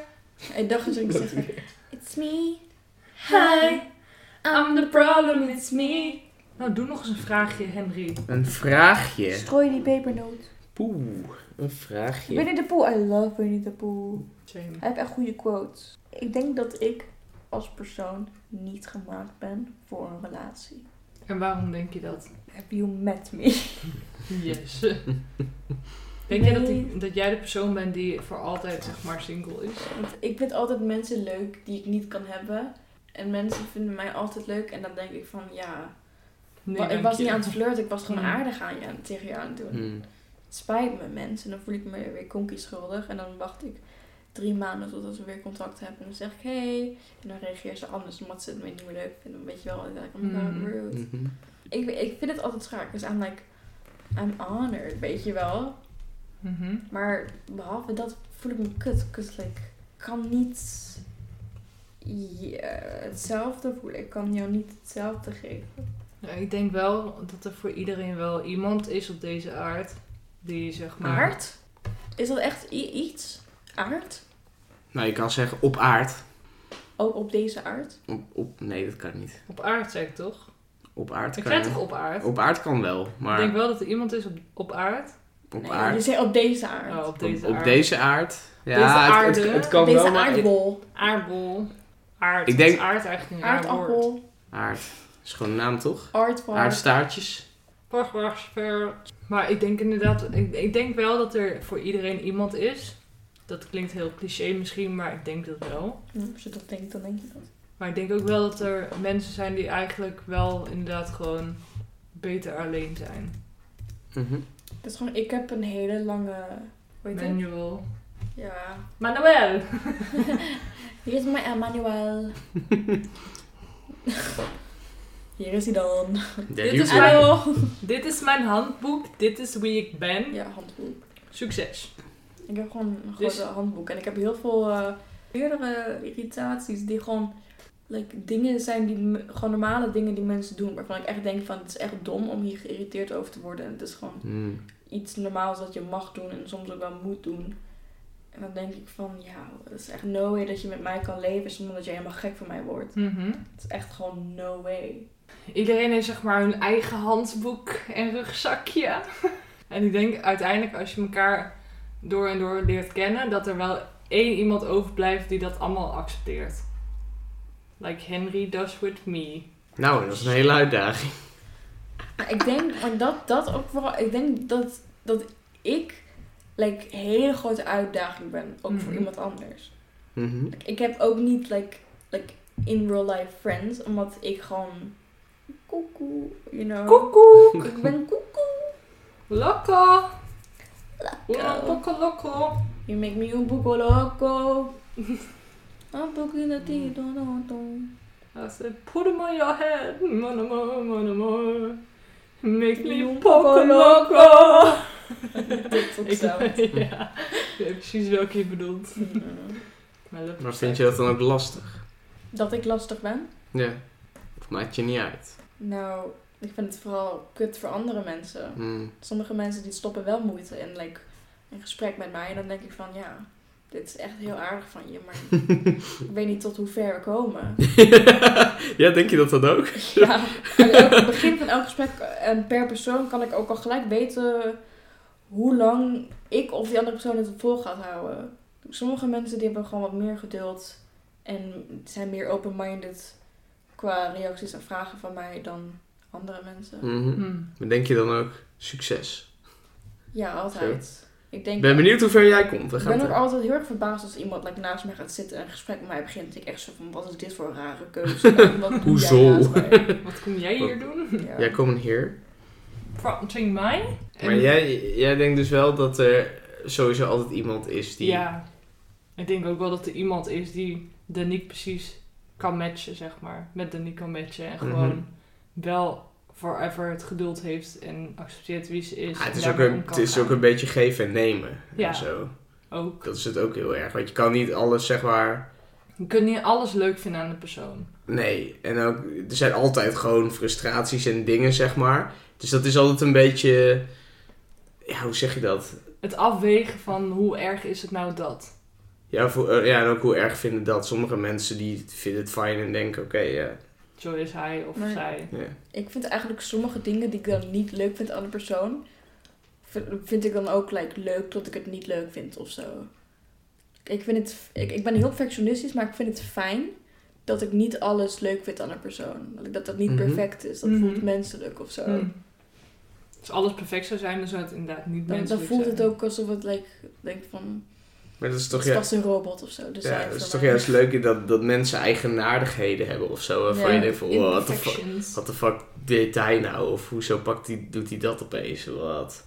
[SPEAKER 3] Ik dacht Eh, dat ik zeg, it's me.
[SPEAKER 1] Hi. I'm the problem, it's me. Nou, doe nog eens een vraagje, Henry.
[SPEAKER 4] Een vraagje.
[SPEAKER 3] Strooi die pepernoot.
[SPEAKER 4] Poeh, een vraagje.
[SPEAKER 3] Winnie the Pooh, I love Winnie the Pooh.
[SPEAKER 1] Same.
[SPEAKER 3] Hij heeft echt goede quotes. Ik denk dat ik als persoon niet gemaakt ben voor een relatie.
[SPEAKER 1] En waarom denk je dat?
[SPEAKER 3] Have you met me?
[SPEAKER 1] [laughs] Yes. Denk jij dat, die-
[SPEAKER 3] Nee.
[SPEAKER 1] dat jij de persoon bent die voor altijd zeg maar single is?
[SPEAKER 3] Want ik vind altijd mensen leuk die ik niet kan hebben. En mensen vinden mij altijd leuk. En dan denk ik van ja,
[SPEAKER 1] Nee,
[SPEAKER 3] wa- ik
[SPEAKER 1] dank
[SPEAKER 3] was
[SPEAKER 1] je.
[SPEAKER 3] niet aan het flirten. Ik was gewoon
[SPEAKER 1] Mm.
[SPEAKER 3] aardig aan je, aan- tegen je aan het doen.
[SPEAKER 2] Hmm.
[SPEAKER 3] Het spijt me mensen. En dan voel ik me weer konkie schuldig. En dan wacht ik drie maanden totdat we weer contact hebben. En dan zeg ik hey. En dan reageer ze anders omdat ze het me niet meer leuk vinden. Dan weet je wel, dan denk ik, oh my god,
[SPEAKER 1] Mm.
[SPEAKER 4] Hm,
[SPEAKER 3] rude.
[SPEAKER 2] Mhm.
[SPEAKER 3] Ik, ik vind het altijd schaak. Dus I'm like, I'm honored, weet je wel.
[SPEAKER 1] Mhm.
[SPEAKER 3] Maar behalve dat voel ik me kut. Kut, like, ik kan niet je- eh, hetzelfde voelen. Ik kan jou niet hetzelfde geven.
[SPEAKER 1] Ja, ik denk wel dat er voor iedereen wel iemand is op deze aard die zeg maar...
[SPEAKER 3] Aard? Is dat echt i- iets? Aard?
[SPEAKER 2] Nou, je kan zeggen op aard.
[SPEAKER 3] Ook op deze aard?
[SPEAKER 2] Op, op, nee, dat kan niet.
[SPEAKER 1] Op aard zei ik toch?
[SPEAKER 2] Op aard
[SPEAKER 1] Ik
[SPEAKER 2] kan
[SPEAKER 1] zei toch op aard?
[SPEAKER 2] Op aard kan wel, maar
[SPEAKER 1] Ik denk wel dat er iemand is op, op aard.
[SPEAKER 2] op
[SPEAKER 3] Nee,
[SPEAKER 2] aard.
[SPEAKER 3] Je zei op deze aard.
[SPEAKER 1] Oh, op
[SPEAKER 2] Op,
[SPEAKER 1] deze
[SPEAKER 2] op
[SPEAKER 1] aard.
[SPEAKER 2] deze aard. Ja,
[SPEAKER 1] Deze
[SPEAKER 2] het- het,
[SPEAKER 1] aarde.
[SPEAKER 2] het kan
[SPEAKER 3] deze
[SPEAKER 2] wel, maar...
[SPEAKER 3] aardbol.
[SPEAKER 1] Aardbol. Aard.
[SPEAKER 2] Ik denk-
[SPEAKER 1] Is aard eigenlijk een raar woord?
[SPEAKER 3] Aardappel.
[SPEAKER 2] Aard. is gewoon een naam, toch?
[SPEAKER 3] Aardbol.
[SPEAKER 2] Aardstaartjes.
[SPEAKER 1] Wacht, wacht, ver. Maar ik denk inderdaad, ik, ik denk wel dat er voor iedereen iemand is. Dat klinkt heel cliché misschien, maar ik denk dat wel.
[SPEAKER 3] Hm, Als je dat denkt, dan denk je dat.
[SPEAKER 1] Maar ik denk ook wel dat er mensen zijn die eigenlijk wel inderdaad gewoon beter alleen zijn.
[SPEAKER 2] Mhm.
[SPEAKER 3] Dat is gewoon, ik heb een hele lange... Hoe heet dat?
[SPEAKER 1] Manuel.
[SPEAKER 3] Ja,
[SPEAKER 1] Manuel! [laughs]
[SPEAKER 3] Hier is mijn
[SPEAKER 2] [laughs]
[SPEAKER 3] Emmanuel. Hier is hij dan.
[SPEAKER 2] Ja,
[SPEAKER 1] Dit is
[SPEAKER 2] die hoef je-
[SPEAKER 1] mijn-
[SPEAKER 3] Hallo.
[SPEAKER 1] Dit is mijn handboek, dit is wie ik ben.
[SPEAKER 3] Ja, handboek.
[SPEAKER 1] Succes.
[SPEAKER 3] Ik heb gewoon een grote
[SPEAKER 1] Dus-
[SPEAKER 3] handboek. En ik heb heel veel eh, meerdere irritaties die gewoon like, dingen zijn die me- gewoon normale dingen die mensen doen. Waarvan ik echt denk van het is echt dom om hier geïrriteerd over te worden. En het is gewoon
[SPEAKER 2] Hmm.
[SPEAKER 3] iets normaals dat je mag doen en soms ook wel moet doen. En dan denk ik van ja, het is echt no way dat je met mij kan leven zonder dat je helemaal gek van mij wordt.
[SPEAKER 1] Mhm.
[SPEAKER 3] Het is echt gewoon no way.
[SPEAKER 1] Iedereen heeft zeg maar hun eigen handboek en rugzakje. En ik denk uiteindelijk als je elkaar door en door leert kennen, dat er wel één iemand overblijft die dat allemaal accepteert. Like Henry does with me.
[SPEAKER 2] Nou, dat is een hele uitdaging.
[SPEAKER 3] Maar ik denk, maar dat, dat ook vooral, ik denk dat, dat ik like, hele grote uitdaging ben, ook voor
[SPEAKER 1] Mhm.
[SPEAKER 3] iemand anders.
[SPEAKER 2] Mhm.
[SPEAKER 3] Like, ik heb ook niet like, like in real life friends, omdat ik gewoon koekoe, you know.
[SPEAKER 1] Koekoek!
[SPEAKER 3] Ik ben koekoe.
[SPEAKER 1] Loco!
[SPEAKER 3] Lekker.
[SPEAKER 1] Loco, loco!
[SPEAKER 3] You make me un poco loco. Un poquito ti don don don.
[SPEAKER 1] I said, put him on your head, mono more, mono more. Make me
[SPEAKER 3] You
[SPEAKER 1] poco
[SPEAKER 3] poco
[SPEAKER 1] loco!
[SPEAKER 3] Dit ook
[SPEAKER 1] Ik-
[SPEAKER 3] zo.
[SPEAKER 1] [laughs] ja, ik weet precies welke je bedoelt.
[SPEAKER 3] Mm.
[SPEAKER 1] Maar dat-
[SPEAKER 2] Maar vind je dat dan ook lastig?
[SPEAKER 3] Dat ik lastig ben?
[SPEAKER 2] Ja. Of maakt je niet uit?
[SPEAKER 3] Nou, ik vind het vooral kut voor andere mensen.
[SPEAKER 2] Hmm.
[SPEAKER 3] sommige mensen die stoppen wel moeite in like, een gesprek met mij. En dan denk ik van ja, dit is echt heel aardig van je, maar ik weet niet tot hoe ver we komen.
[SPEAKER 2] [laughs] ja, denk je dat dat ook? [laughs]
[SPEAKER 3] Ja, aan het begin van elk gesprek en per persoon kan ik ook al gelijk weten hoe lang ik of die andere persoon het vol gaat houden. Sommige mensen die hebben gewoon wat meer geduld en zijn meer open-minded qua reacties en vragen van mij dan andere mensen.
[SPEAKER 2] Mhm.
[SPEAKER 1] Hm.
[SPEAKER 2] Maar denk je dan ook succes?
[SPEAKER 3] Ja, altijd. Ik denk
[SPEAKER 2] Ik ben benieuwd hoe ver jij komt. We
[SPEAKER 3] Ik
[SPEAKER 2] gaan
[SPEAKER 3] ben ook
[SPEAKER 2] het-
[SPEAKER 3] altijd heel erg verbaasd als iemand like, naast mij gaat zitten en een gesprek met mij begint. Ik echt zo van, wat is dit voor een rare
[SPEAKER 2] [laughs]
[SPEAKER 3] keuze? En Wat doe jij
[SPEAKER 2] Hoezo?
[SPEAKER 3] naast
[SPEAKER 2] [laughs]
[SPEAKER 3] mij?
[SPEAKER 1] Hmm. Wat kom jij hier doen?
[SPEAKER 3] Ja.
[SPEAKER 2] Jij komt hier.
[SPEAKER 1] Prompting mij?
[SPEAKER 2] Maar jij, jij denkt dus wel dat er sowieso altijd iemand is die...
[SPEAKER 1] Ja. Ik denk ook wel dat er iemand is die Danique precies kan matchen, zeg maar. Met Danique kan matchen en gewoon
[SPEAKER 2] Mhm.
[SPEAKER 1] wel forever het geduld heeft en accepteert wie ze is.
[SPEAKER 2] Ah, het
[SPEAKER 1] en
[SPEAKER 2] is, ook
[SPEAKER 1] daarmee
[SPEAKER 2] een,
[SPEAKER 1] om kan
[SPEAKER 2] het is ook
[SPEAKER 1] gaan.
[SPEAKER 2] een beetje geven en nemen.
[SPEAKER 1] Ja.
[SPEAKER 2] En zo.
[SPEAKER 1] Ook.
[SPEAKER 2] Dat is het ook heel erg. Want je kan niet alles, zeg maar...
[SPEAKER 1] Je kunt niet alles leuk vinden aan de persoon.
[SPEAKER 2] Nee. En ook, er zijn altijd gewoon frustraties en dingen, zeg maar. Dus dat is altijd een beetje... Ja, hoe zeg je dat?
[SPEAKER 1] Het afwegen van hoe erg is het nou dat.
[SPEAKER 2] Ja, voor, eh, ja en ook hoe erg vinden dat. Sommige mensen die vinden het fijn en denken, oké, ja.
[SPEAKER 1] Zo is hij of
[SPEAKER 3] Maar-
[SPEAKER 1] zij.
[SPEAKER 2] ja.
[SPEAKER 3] Ik vind eigenlijk sommige dingen die ik dan niet leuk vind aan een persoon, vind, vind ik dan ook like, leuk dat ik het niet leuk vind of zo. Ik- ik, vind het, ik, ik ben heel perfectionistisch, maar ik vind het fijn dat ik niet alles leuk vind aan een persoon. Dat ik- dat dat niet
[SPEAKER 2] Mhm.
[SPEAKER 3] perfect is. Dat
[SPEAKER 1] Mhm.
[SPEAKER 3] voelt menselijk of zo.
[SPEAKER 1] Hm. Als Dus alles perfect zou zijn, dan zou het inderdaad niet
[SPEAKER 3] Dan, dan
[SPEAKER 1] menselijk
[SPEAKER 3] voelt
[SPEAKER 1] zijn.
[SPEAKER 3] het ook alsof het, like, denk van,
[SPEAKER 2] Maar dat is
[SPEAKER 3] het
[SPEAKER 2] toch,
[SPEAKER 3] is
[SPEAKER 2] ja,
[SPEAKER 3] vast een robot of zo. Dus
[SPEAKER 2] ja, dat is toch juist leuk dat, dat mensen eigenaardigheden hebben of zo. Waarvan
[SPEAKER 3] Ja,
[SPEAKER 2] je denkt van, wow, what the fuck,
[SPEAKER 1] Imperfections.
[SPEAKER 2] what the fuck deed hij nou? Of hoezo pakt die, doet hij dat opeens? Wat?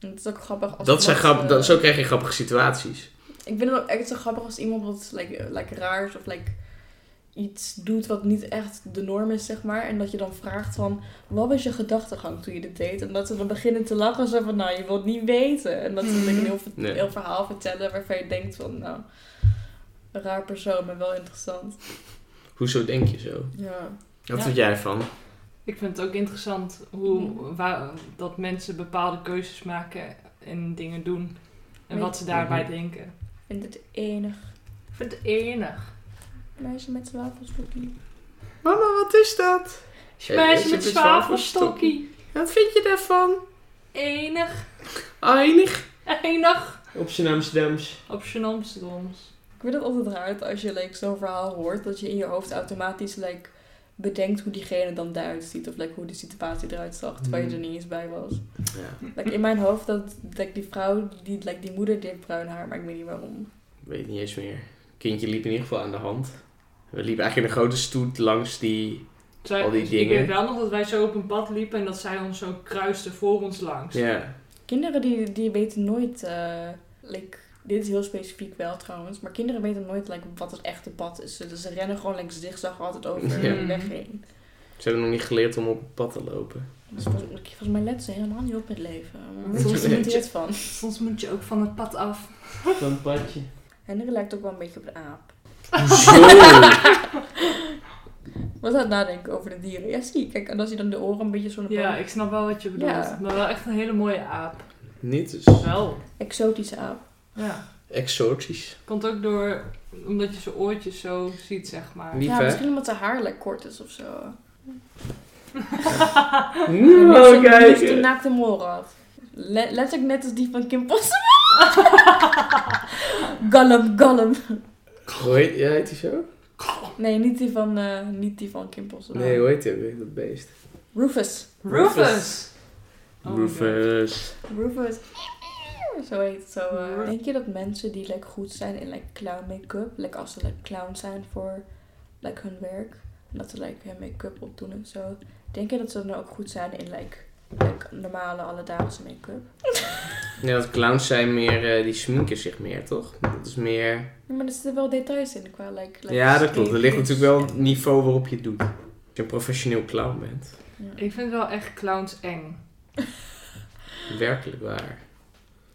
[SPEAKER 3] Het is ook grappig als
[SPEAKER 2] Dat zijn
[SPEAKER 3] iemand,
[SPEAKER 2] grap,
[SPEAKER 3] eh,
[SPEAKER 2] dat, zo krijg je grappige situaties.
[SPEAKER 3] Ik vind het ook echt zo grappig als iemand wat like, eh, like, raars of like, iets doet wat niet echt de norm is, zeg maar. En dat je dan vraagt van, wat was je gedachtegang toen je dit deed? En dat ze dan beginnen te lachen en zo van, nou, je wilt niet weten. En dat ze dan een heel, ver-
[SPEAKER 2] Nee.
[SPEAKER 3] heel verhaal vertellen waarvan je denkt van, nou, een raar persoon, maar wel interessant.
[SPEAKER 2] Hoezo denk je zo?
[SPEAKER 3] Ja.
[SPEAKER 2] Wat
[SPEAKER 1] Ja.
[SPEAKER 2] vind jij van?
[SPEAKER 1] Ik vind het ook interessant hoe
[SPEAKER 3] Mhm.
[SPEAKER 1] waar, dat mensen bepaalde keuzes maken en dingen doen. En wat ze daarbij
[SPEAKER 2] Mhm.
[SPEAKER 1] denken.
[SPEAKER 3] Ik vind het enig.
[SPEAKER 1] Ik vind het enig.
[SPEAKER 3] Meisje met zijn wafelstokkie.
[SPEAKER 2] Mama, wat is dat? Eh,
[SPEAKER 1] Meisje
[SPEAKER 2] is
[SPEAKER 1] met
[SPEAKER 2] het een
[SPEAKER 1] zwavelstokkie.
[SPEAKER 2] Wat vind je daarvan? Ah,
[SPEAKER 1] Enig.
[SPEAKER 2] Einig.
[SPEAKER 1] Enig.
[SPEAKER 5] Op zijn Amsterdams.
[SPEAKER 1] Op zijn Amsterdams.
[SPEAKER 3] Ik vind het altijd raar dat als je like, zo'n verhaal hoort, dat je in je hoofd automatisch like, bedenkt hoe diegene dan eruit ziet. Of like, hoe de situatie eruit zag, terwijl je er niet eens bij was.
[SPEAKER 2] Ja,
[SPEAKER 3] Like, in mijn hoofd, dat like, die vrouw, die, like, die moeder, die heeft bruin haar, maar ik weet niet waarom.
[SPEAKER 2] weet niet eens meer. Kindje liep in ieder geval aan de hand. We liepen eigenlijk in een grote stoet langs die...
[SPEAKER 1] Zij,
[SPEAKER 2] Al die
[SPEAKER 1] Ik
[SPEAKER 2] dingen.
[SPEAKER 1] weet wel nog dat wij zo op een pad liepen en dat zij ons zo kruisten voor ons langs.
[SPEAKER 2] Ja.
[SPEAKER 3] Kinderen die, die weten nooit, eh, like, dit is heel specifiek wel trouwens, maar kinderen weten nooit like, wat het echte pad is. Dus ze rennen gewoon like, zigzag altijd over
[SPEAKER 2] Ja.
[SPEAKER 3] de weg heen.
[SPEAKER 2] Ze hebben nog niet geleerd om op het pad te lopen.
[SPEAKER 3] Dus volgens, volgens mij letten ze helemaal niet op in het leven. Waar
[SPEAKER 1] Soms
[SPEAKER 3] is er
[SPEAKER 1] moet je-
[SPEAKER 3] dit van?
[SPEAKER 1] Soms moet je ook van het pad af.
[SPEAKER 5] Zo'n padje.
[SPEAKER 3] Henry lijkt ook wel een beetje op een aap.
[SPEAKER 2] Zo!
[SPEAKER 3] Was aan het nadenken over de dieren. Ja, zie. Kijk, en als hij dan de oren een beetje zo'n
[SPEAKER 1] Ja, ik snap wel wat je bedoelt.
[SPEAKER 3] Ja.
[SPEAKER 1] Maar wel echt een hele mooie aap.
[SPEAKER 2] Niet dus.
[SPEAKER 1] Wel.
[SPEAKER 3] exotische aap.
[SPEAKER 1] Ja.
[SPEAKER 2] Exotisch.
[SPEAKER 1] Komt ook door omdat je zijn oortjes zo ziet, zeg maar.
[SPEAKER 2] Lief,
[SPEAKER 3] ja,
[SPEAKER 2] hè?
[SPEAKER 3] misschien omdat zijn haar lekker kort is of zo.
[SPEAKER 2] Nou,
[SPEAKER 3] Net zo-
[SPEAKER 2] kijk.
[SPEAKER 3] net zo die naakte moren had. Le letterlijk net als die van Kim Possible. Gollum, Gollum.
[SPEAKER 2] Hoe heet, ja, heet hij zo?
[SPEAKER 3] Nee, niet die van, eh, niet die van Kim Possible.
[SPEAKER 2] Nee, hoe heet hij? ook weer, Dat beest.
[SPEAKER 3] Rufus.
[SPEAKER 1] Rufus!
[SPEAKER 2] Rufus.
[SPEAKER 1] Oh my
[SPEAKER 2] Rufus.
[SPEAKER 3] Rufus. Zo heet het zo. eh.
[SPEAKER 1] Ru-
[SPEAKER 3] Denk je dat mensen die like, goed zijn in like, clown make-up, like, als ze like, clown zijn voor like, hun werk, en dat ze like, hun make-up opdoen en zo, denk je dat ze dan ook goed zijn in like, like, normale alledaagse make-up?
[SPEAKER 2] Ja, dat clowns zijn meer... eh, die sminken zich meer, toch? Dat is meer...
[SPEAKER 3] Ja, maar er zitten wel details in qua like, like
[SPEAKER 2] ja, dat klopt. Er ligt
[SPEAKER 3] shapings
[SPEAKER 2] natuurlijk wel het
[SPEAKER 3] en-
[SPEAKER 2] niveau waarop je het doet. Als je een professioneel clown bent.
[SPEAKER 3] Ja.
[SPEAKER 1] Ik vind wel echt clowns eng.
[SPEAKER 2] Werkelijk waar.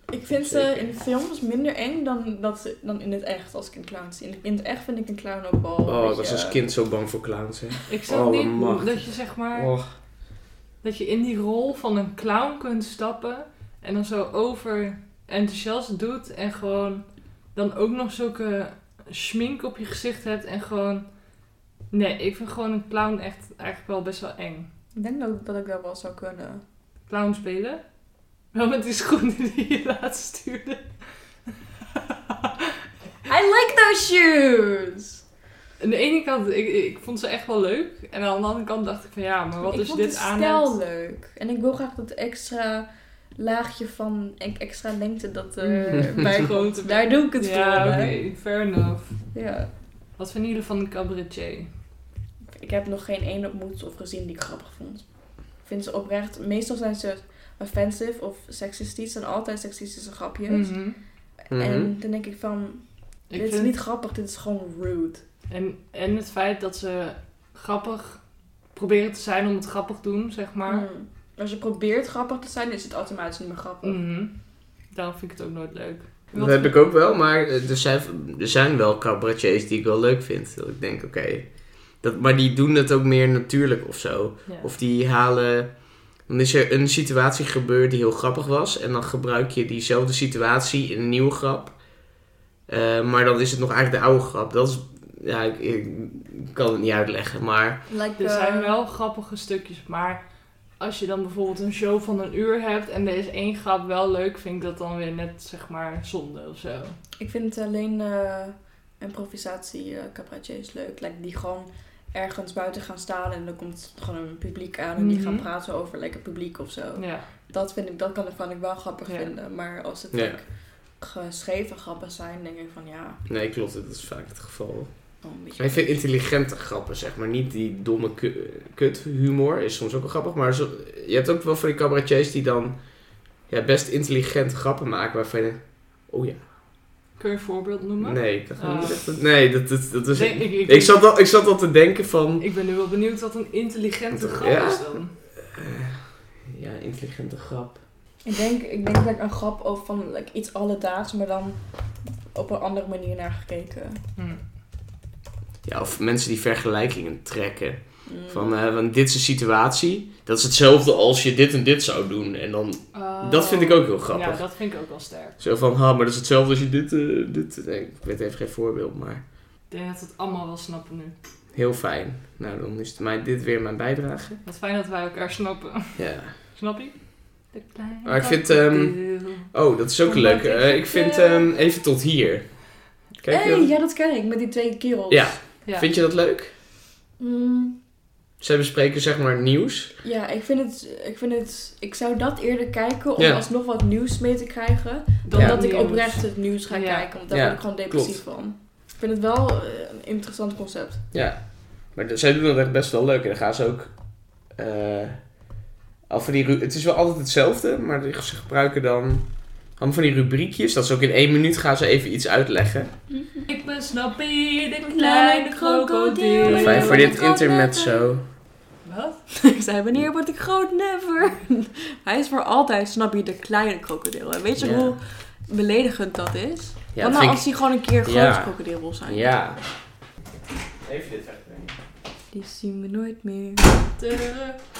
[SPEAKER 3] Ik vind ze
[SPEAKER 2] Zeker.
[SPEAKER 3] in films minder eng dan, dat ze, dan in het echt, als ik een clown zie. In- In het echt vind ik een clown ook wel. een
[SPEAKER 2] Oh, ik was
[SPEAKER 3] beetje-
[SPEAKER 2] als kind zo bang voor clowns, hè.
[SPEAKER 1] Ik snap
[SPEAKER 2] Oh,
[SPEAKER 1] niet
[SPEAKER 2] dat
[SPEAKER 1] hoe-
[SPEAKER 2] mag.
[SPEAKER 1] dat je zeg maar,
[SPEAKER 2] Oh,
[SPEAKER 1] dat je in die rol van een clown kunt stappen en dan zo over enthousiast doet en gewoon dan ook nog zulke schmink op je gezicht hebt en gewoon... Nee, ik vind gewoon een clown echt eigenlijk wel best wel eng.
[SPEAKER 3] Ik denk dat, dat ik dat wel zou kunnen.
[SPEAKER 1] Clown spelen? Wel met die schoenen die je laatst
[SPEAKER 2] [laughs]
[SPEAKER 1] stuurde.
[SPEAKER 3] I like those shoes!
[SPEAKER 1] Aan de ene kant, ik, ik vond ze echt wel leuk. En aan de andere kant dacht ik van ja, maar wat
[SPEAKER 3] ik
[SPEAKER 1] is
[SPEAKER 3] vond
[SPEAKER 1] dit
[SPEAKER 3] het
[SPEAKER 1] aan?
[SPEAKER 3] stijl leuk. En ik wil graag dat extra laagje van en extra lengte
[SPEAKER 1] [laughs]
[SPEAKER 3] dat er
[SPEAKER 1] Mm.
[SPEAKER 3] bij
[SPEAKER 1] Grote-
[SPEAKER 3] komt. Daar doe ik het
[SPEAKER 1] Ja,
[SPEAKER 3] voor.
[SPEAKER 1] oké,
[SPEAKER 3] hè.
[SPEAKER 1] fair enough.
[SPEAKER 3] Ja.
[SPEAKER 1] Wat vinden jullie van de cabaretier?
[SPEAKER 3] Ik heb nog geen één ontmoet of gezien die ik grappig vond. Ik vind ze oprecht. Meestal zijn ze offensive of seksistisch. En altijd seksistische grapjes.
[SPEAKER 1] Mhm.
[SPEAKER 3] En dan denk ik van,
[SPEAKER 1] Ik
[SPEAKER 3] dit Mm-hmm. is
[SPEAKER 1] vind-
[SPEAKER 3] niet grappig, dit is gewoon rude.
[SPEAKER 1] en, en het feit dat ze grappig proberen te zijn om het grappig te doen, zeg maar.
[SPEAKER 3] Mm. Als je probeert grappig te zijn, is het automatisch niet meer grappig.
[SPEAKER 1] Mhm. Daarom vind ik het ook nooit leuk.
[SPEAKER 2] Dat heb ik ook wel, maar eh, er zijn, er zijn wel cabaretiers die ik wel leuk vind. Dat ik denk, oké. dat maar die doen het ook meer natuurlijk of zo.
[SPEAKER 1] Ja.
[SPEAKER 2] Of die halen... Dan is er een situatie gebeurd die heel grappig was. En dan gebruik je diezelfde situatie in een nieuwe grap. Eh, maar dan is het nog eigenlijk de oude grap. Dat is... Ja, ik, ik kan het niet uitleggen, maar...
[SPEAKER 3] Like,
[SPEAKER 1] Er
[SPEAKER 3] eh,
[SPEAKER 1] zijn wel grappige stukjes, maar als je dan bijvoorbeeld een show van een uur hebt en er is één grap wel leuk, vind ik dat dan weer net zeg maar zonde of zo.
[SPEAKER 3] Ik vind alleen eh, improvisatie eh cabaretiers leuk. Like, die gewoon ergens buiten gaan staan en dan komt gewoon een publiek aan en die gaan
[SPEAKER 1] Mhm.
[SPEAKER 3] praten over lekker publiek of zo.
[SPEAKER 1] Ja.
[SPEAKER 3] Dat vind ik, dat kan ik, kan ik wel grappig
[SPEAKER 1] Ja.
[SPEAKER 3] vinden. Maar als het
[SPEAKER 2] Ja.
[SPEAKER 3] like, geschreven grappen zijn, denk ik van ja,
[SPEAKER 2] Nee, klopt. Dat is vaak het geval.
[SPEAKER 3] dan een beetje.
[SPEAKER 2] Maar ik vind intelligente grappen, zeg maar. Niet die domme ku- kut humor is soms ook wel grappig. Maar zo- je hebt ook wel van die cabaretiers die dan ja, best intelligente grappen maken. Waarvan je denkt, oh ja.
[SPEAKER 1] Kun je een voorbeeld noemen?
[SPEAKER 2] Nee, dat,
[SPEAKER 1] Ah.
[SPEAKER 2] nee, dat, dat, dat is...
[SPEAKER 1] Nee, ik, ik,
[SPEAKER 2] ik, zat al, ik zat al te denken van...
[SPEAKER 1] ik ben nu wel benieuwd wat een intelligente
[SPEAKER 2] Ja.
[SPEAKER 1] grap is dan.
[SPEAKER 2] Ja, intelligente grap.
[SPEAKER 3] Ik denk, ik denk like, een grap over van like, iets alledaags, maar dan op een andere manier naar gekeken.
[SPEAKER 1] Hm.
[SPEAKER 2] Ja, of mensen die vergelijkingen trekken.
[SPEAKER 3] Mm.
[SPEAKER 2] Van, eh, van dit is een situatie. Dat is hetzelfde als je dit en dit zou doen. En dan
[SPEAKER 1] Oh.
[SPEAKER 2] Dat vind ik ook heel grappig.
[SPEAKER 1] Ja, dat vind ik ook wel sterk.
[SPEAKER 2] zo van, ha, maar dat is hetzelfde als je dit... eh, dit nee, ik weet even geen voorbeeld, maar
[SPEAKER 1] Ik denk dat we het allemaal wel snappen nu.
[SPEAKER 2] heel fijn. Nou, dan is het mijn, dit weer mijn bijdrage.
[SPEAKER 1] Wat fijn dat wij elkaar snappen. [laughs]
[SPEAKER 2] Ja.
[SPEAKER 1] Snap je? De kleine
[SPEAKER 2] Maar ik vind,
[SPEAKER 1] krokodil.
[SPEAKER 2] Oh, dat is ook
[SPEAKER 1] Omdat ik
[SPEAKER 2] leuk. Eh, ik vind ehm, even tot hier. Kijk,
[SPEAKER 3] hey,
[SPEAKER 2] dat-
[SPEAKER 3] ja, dat ken ik met die twee kerels.
[SPEAKER 2] Ja.
[SPEAKER 1] Ja.
[SPEAKER 2] Vind je dat leuk?
[SPEAKER 3] Mm,
[SPEAKER 2] Zij bespreken zeg maar nieuws.
[SPEAKER 3] ja, ik vind, het, ik vind het. Ik zou dat eerder kijken om
[SPEAKER 2] Ja.
[SPEAKER 3] alsnog wat nieuws mee te krijgen.
[SPEAKER 1] Dan
[SPEAKER 3] Dan
[SPEAKER 2] Ja.
[SPEAKER 3] dat ik
[SPEAKER 1] nieuws.
[SPEAKER 3] oprecht het nieuws ga
[SPEAKER 1] Ja.
[SPEAKER 3] kijken. Want daar
[SPEAKER 2] Ja,
[SPEAKER 3] word ik gewoon depressief van. Ik vind het wel eh, een interessant concept.
[SPEAKER 2] Ja. Maar de- zij doen dat echt best wel leuk. En dan gaan ze ook... eh, al van die ru- het is wel altijd hetzelfde, maar die- ze gebruiken dan... Allemaal van die rubriekjes. Dat ze ook in één minuut gaan ze even iets uitleggen.
[SPEAKER 1] Ik ben Snappy, de kleine krokodil.
[SPEAKER 3] Kleine
[SPEAKER 2] Fijn voor
[SPEAKER 3] Wanneer
[SPEAKER 2] dit
[SPEAKER 3] wordt het
[SPEAKER 2] intermezzo.
[SPEAKER 1] Wat?
[SPEAKER 3] [laughs] ik zei, wanneer word ik groot? Never. [laughs] Hij is voor altijd, snap je, de kleine krokodil. En weet je
[SPEAKER 2] Ja.
[SPEAKER 3] hoe beledigend dat is?
[SPEAKER 2] Ja,
[SPEAKER 3] Want
[SPEAKER 2] dat
[SPEAKER 3] nou
[SPEAKER 2] vind
[SPEAKER 3] als hij gewoon een keer een groot
[SPEAKER 2] Ja.
[SPEAKER 3] krokodil wil zijn.
[SPEAKER 2] ik... Ja. Even dit wegbrengen.
[SPEAKER 3] Die zien we nooit meer.
[SPEAKER 1] De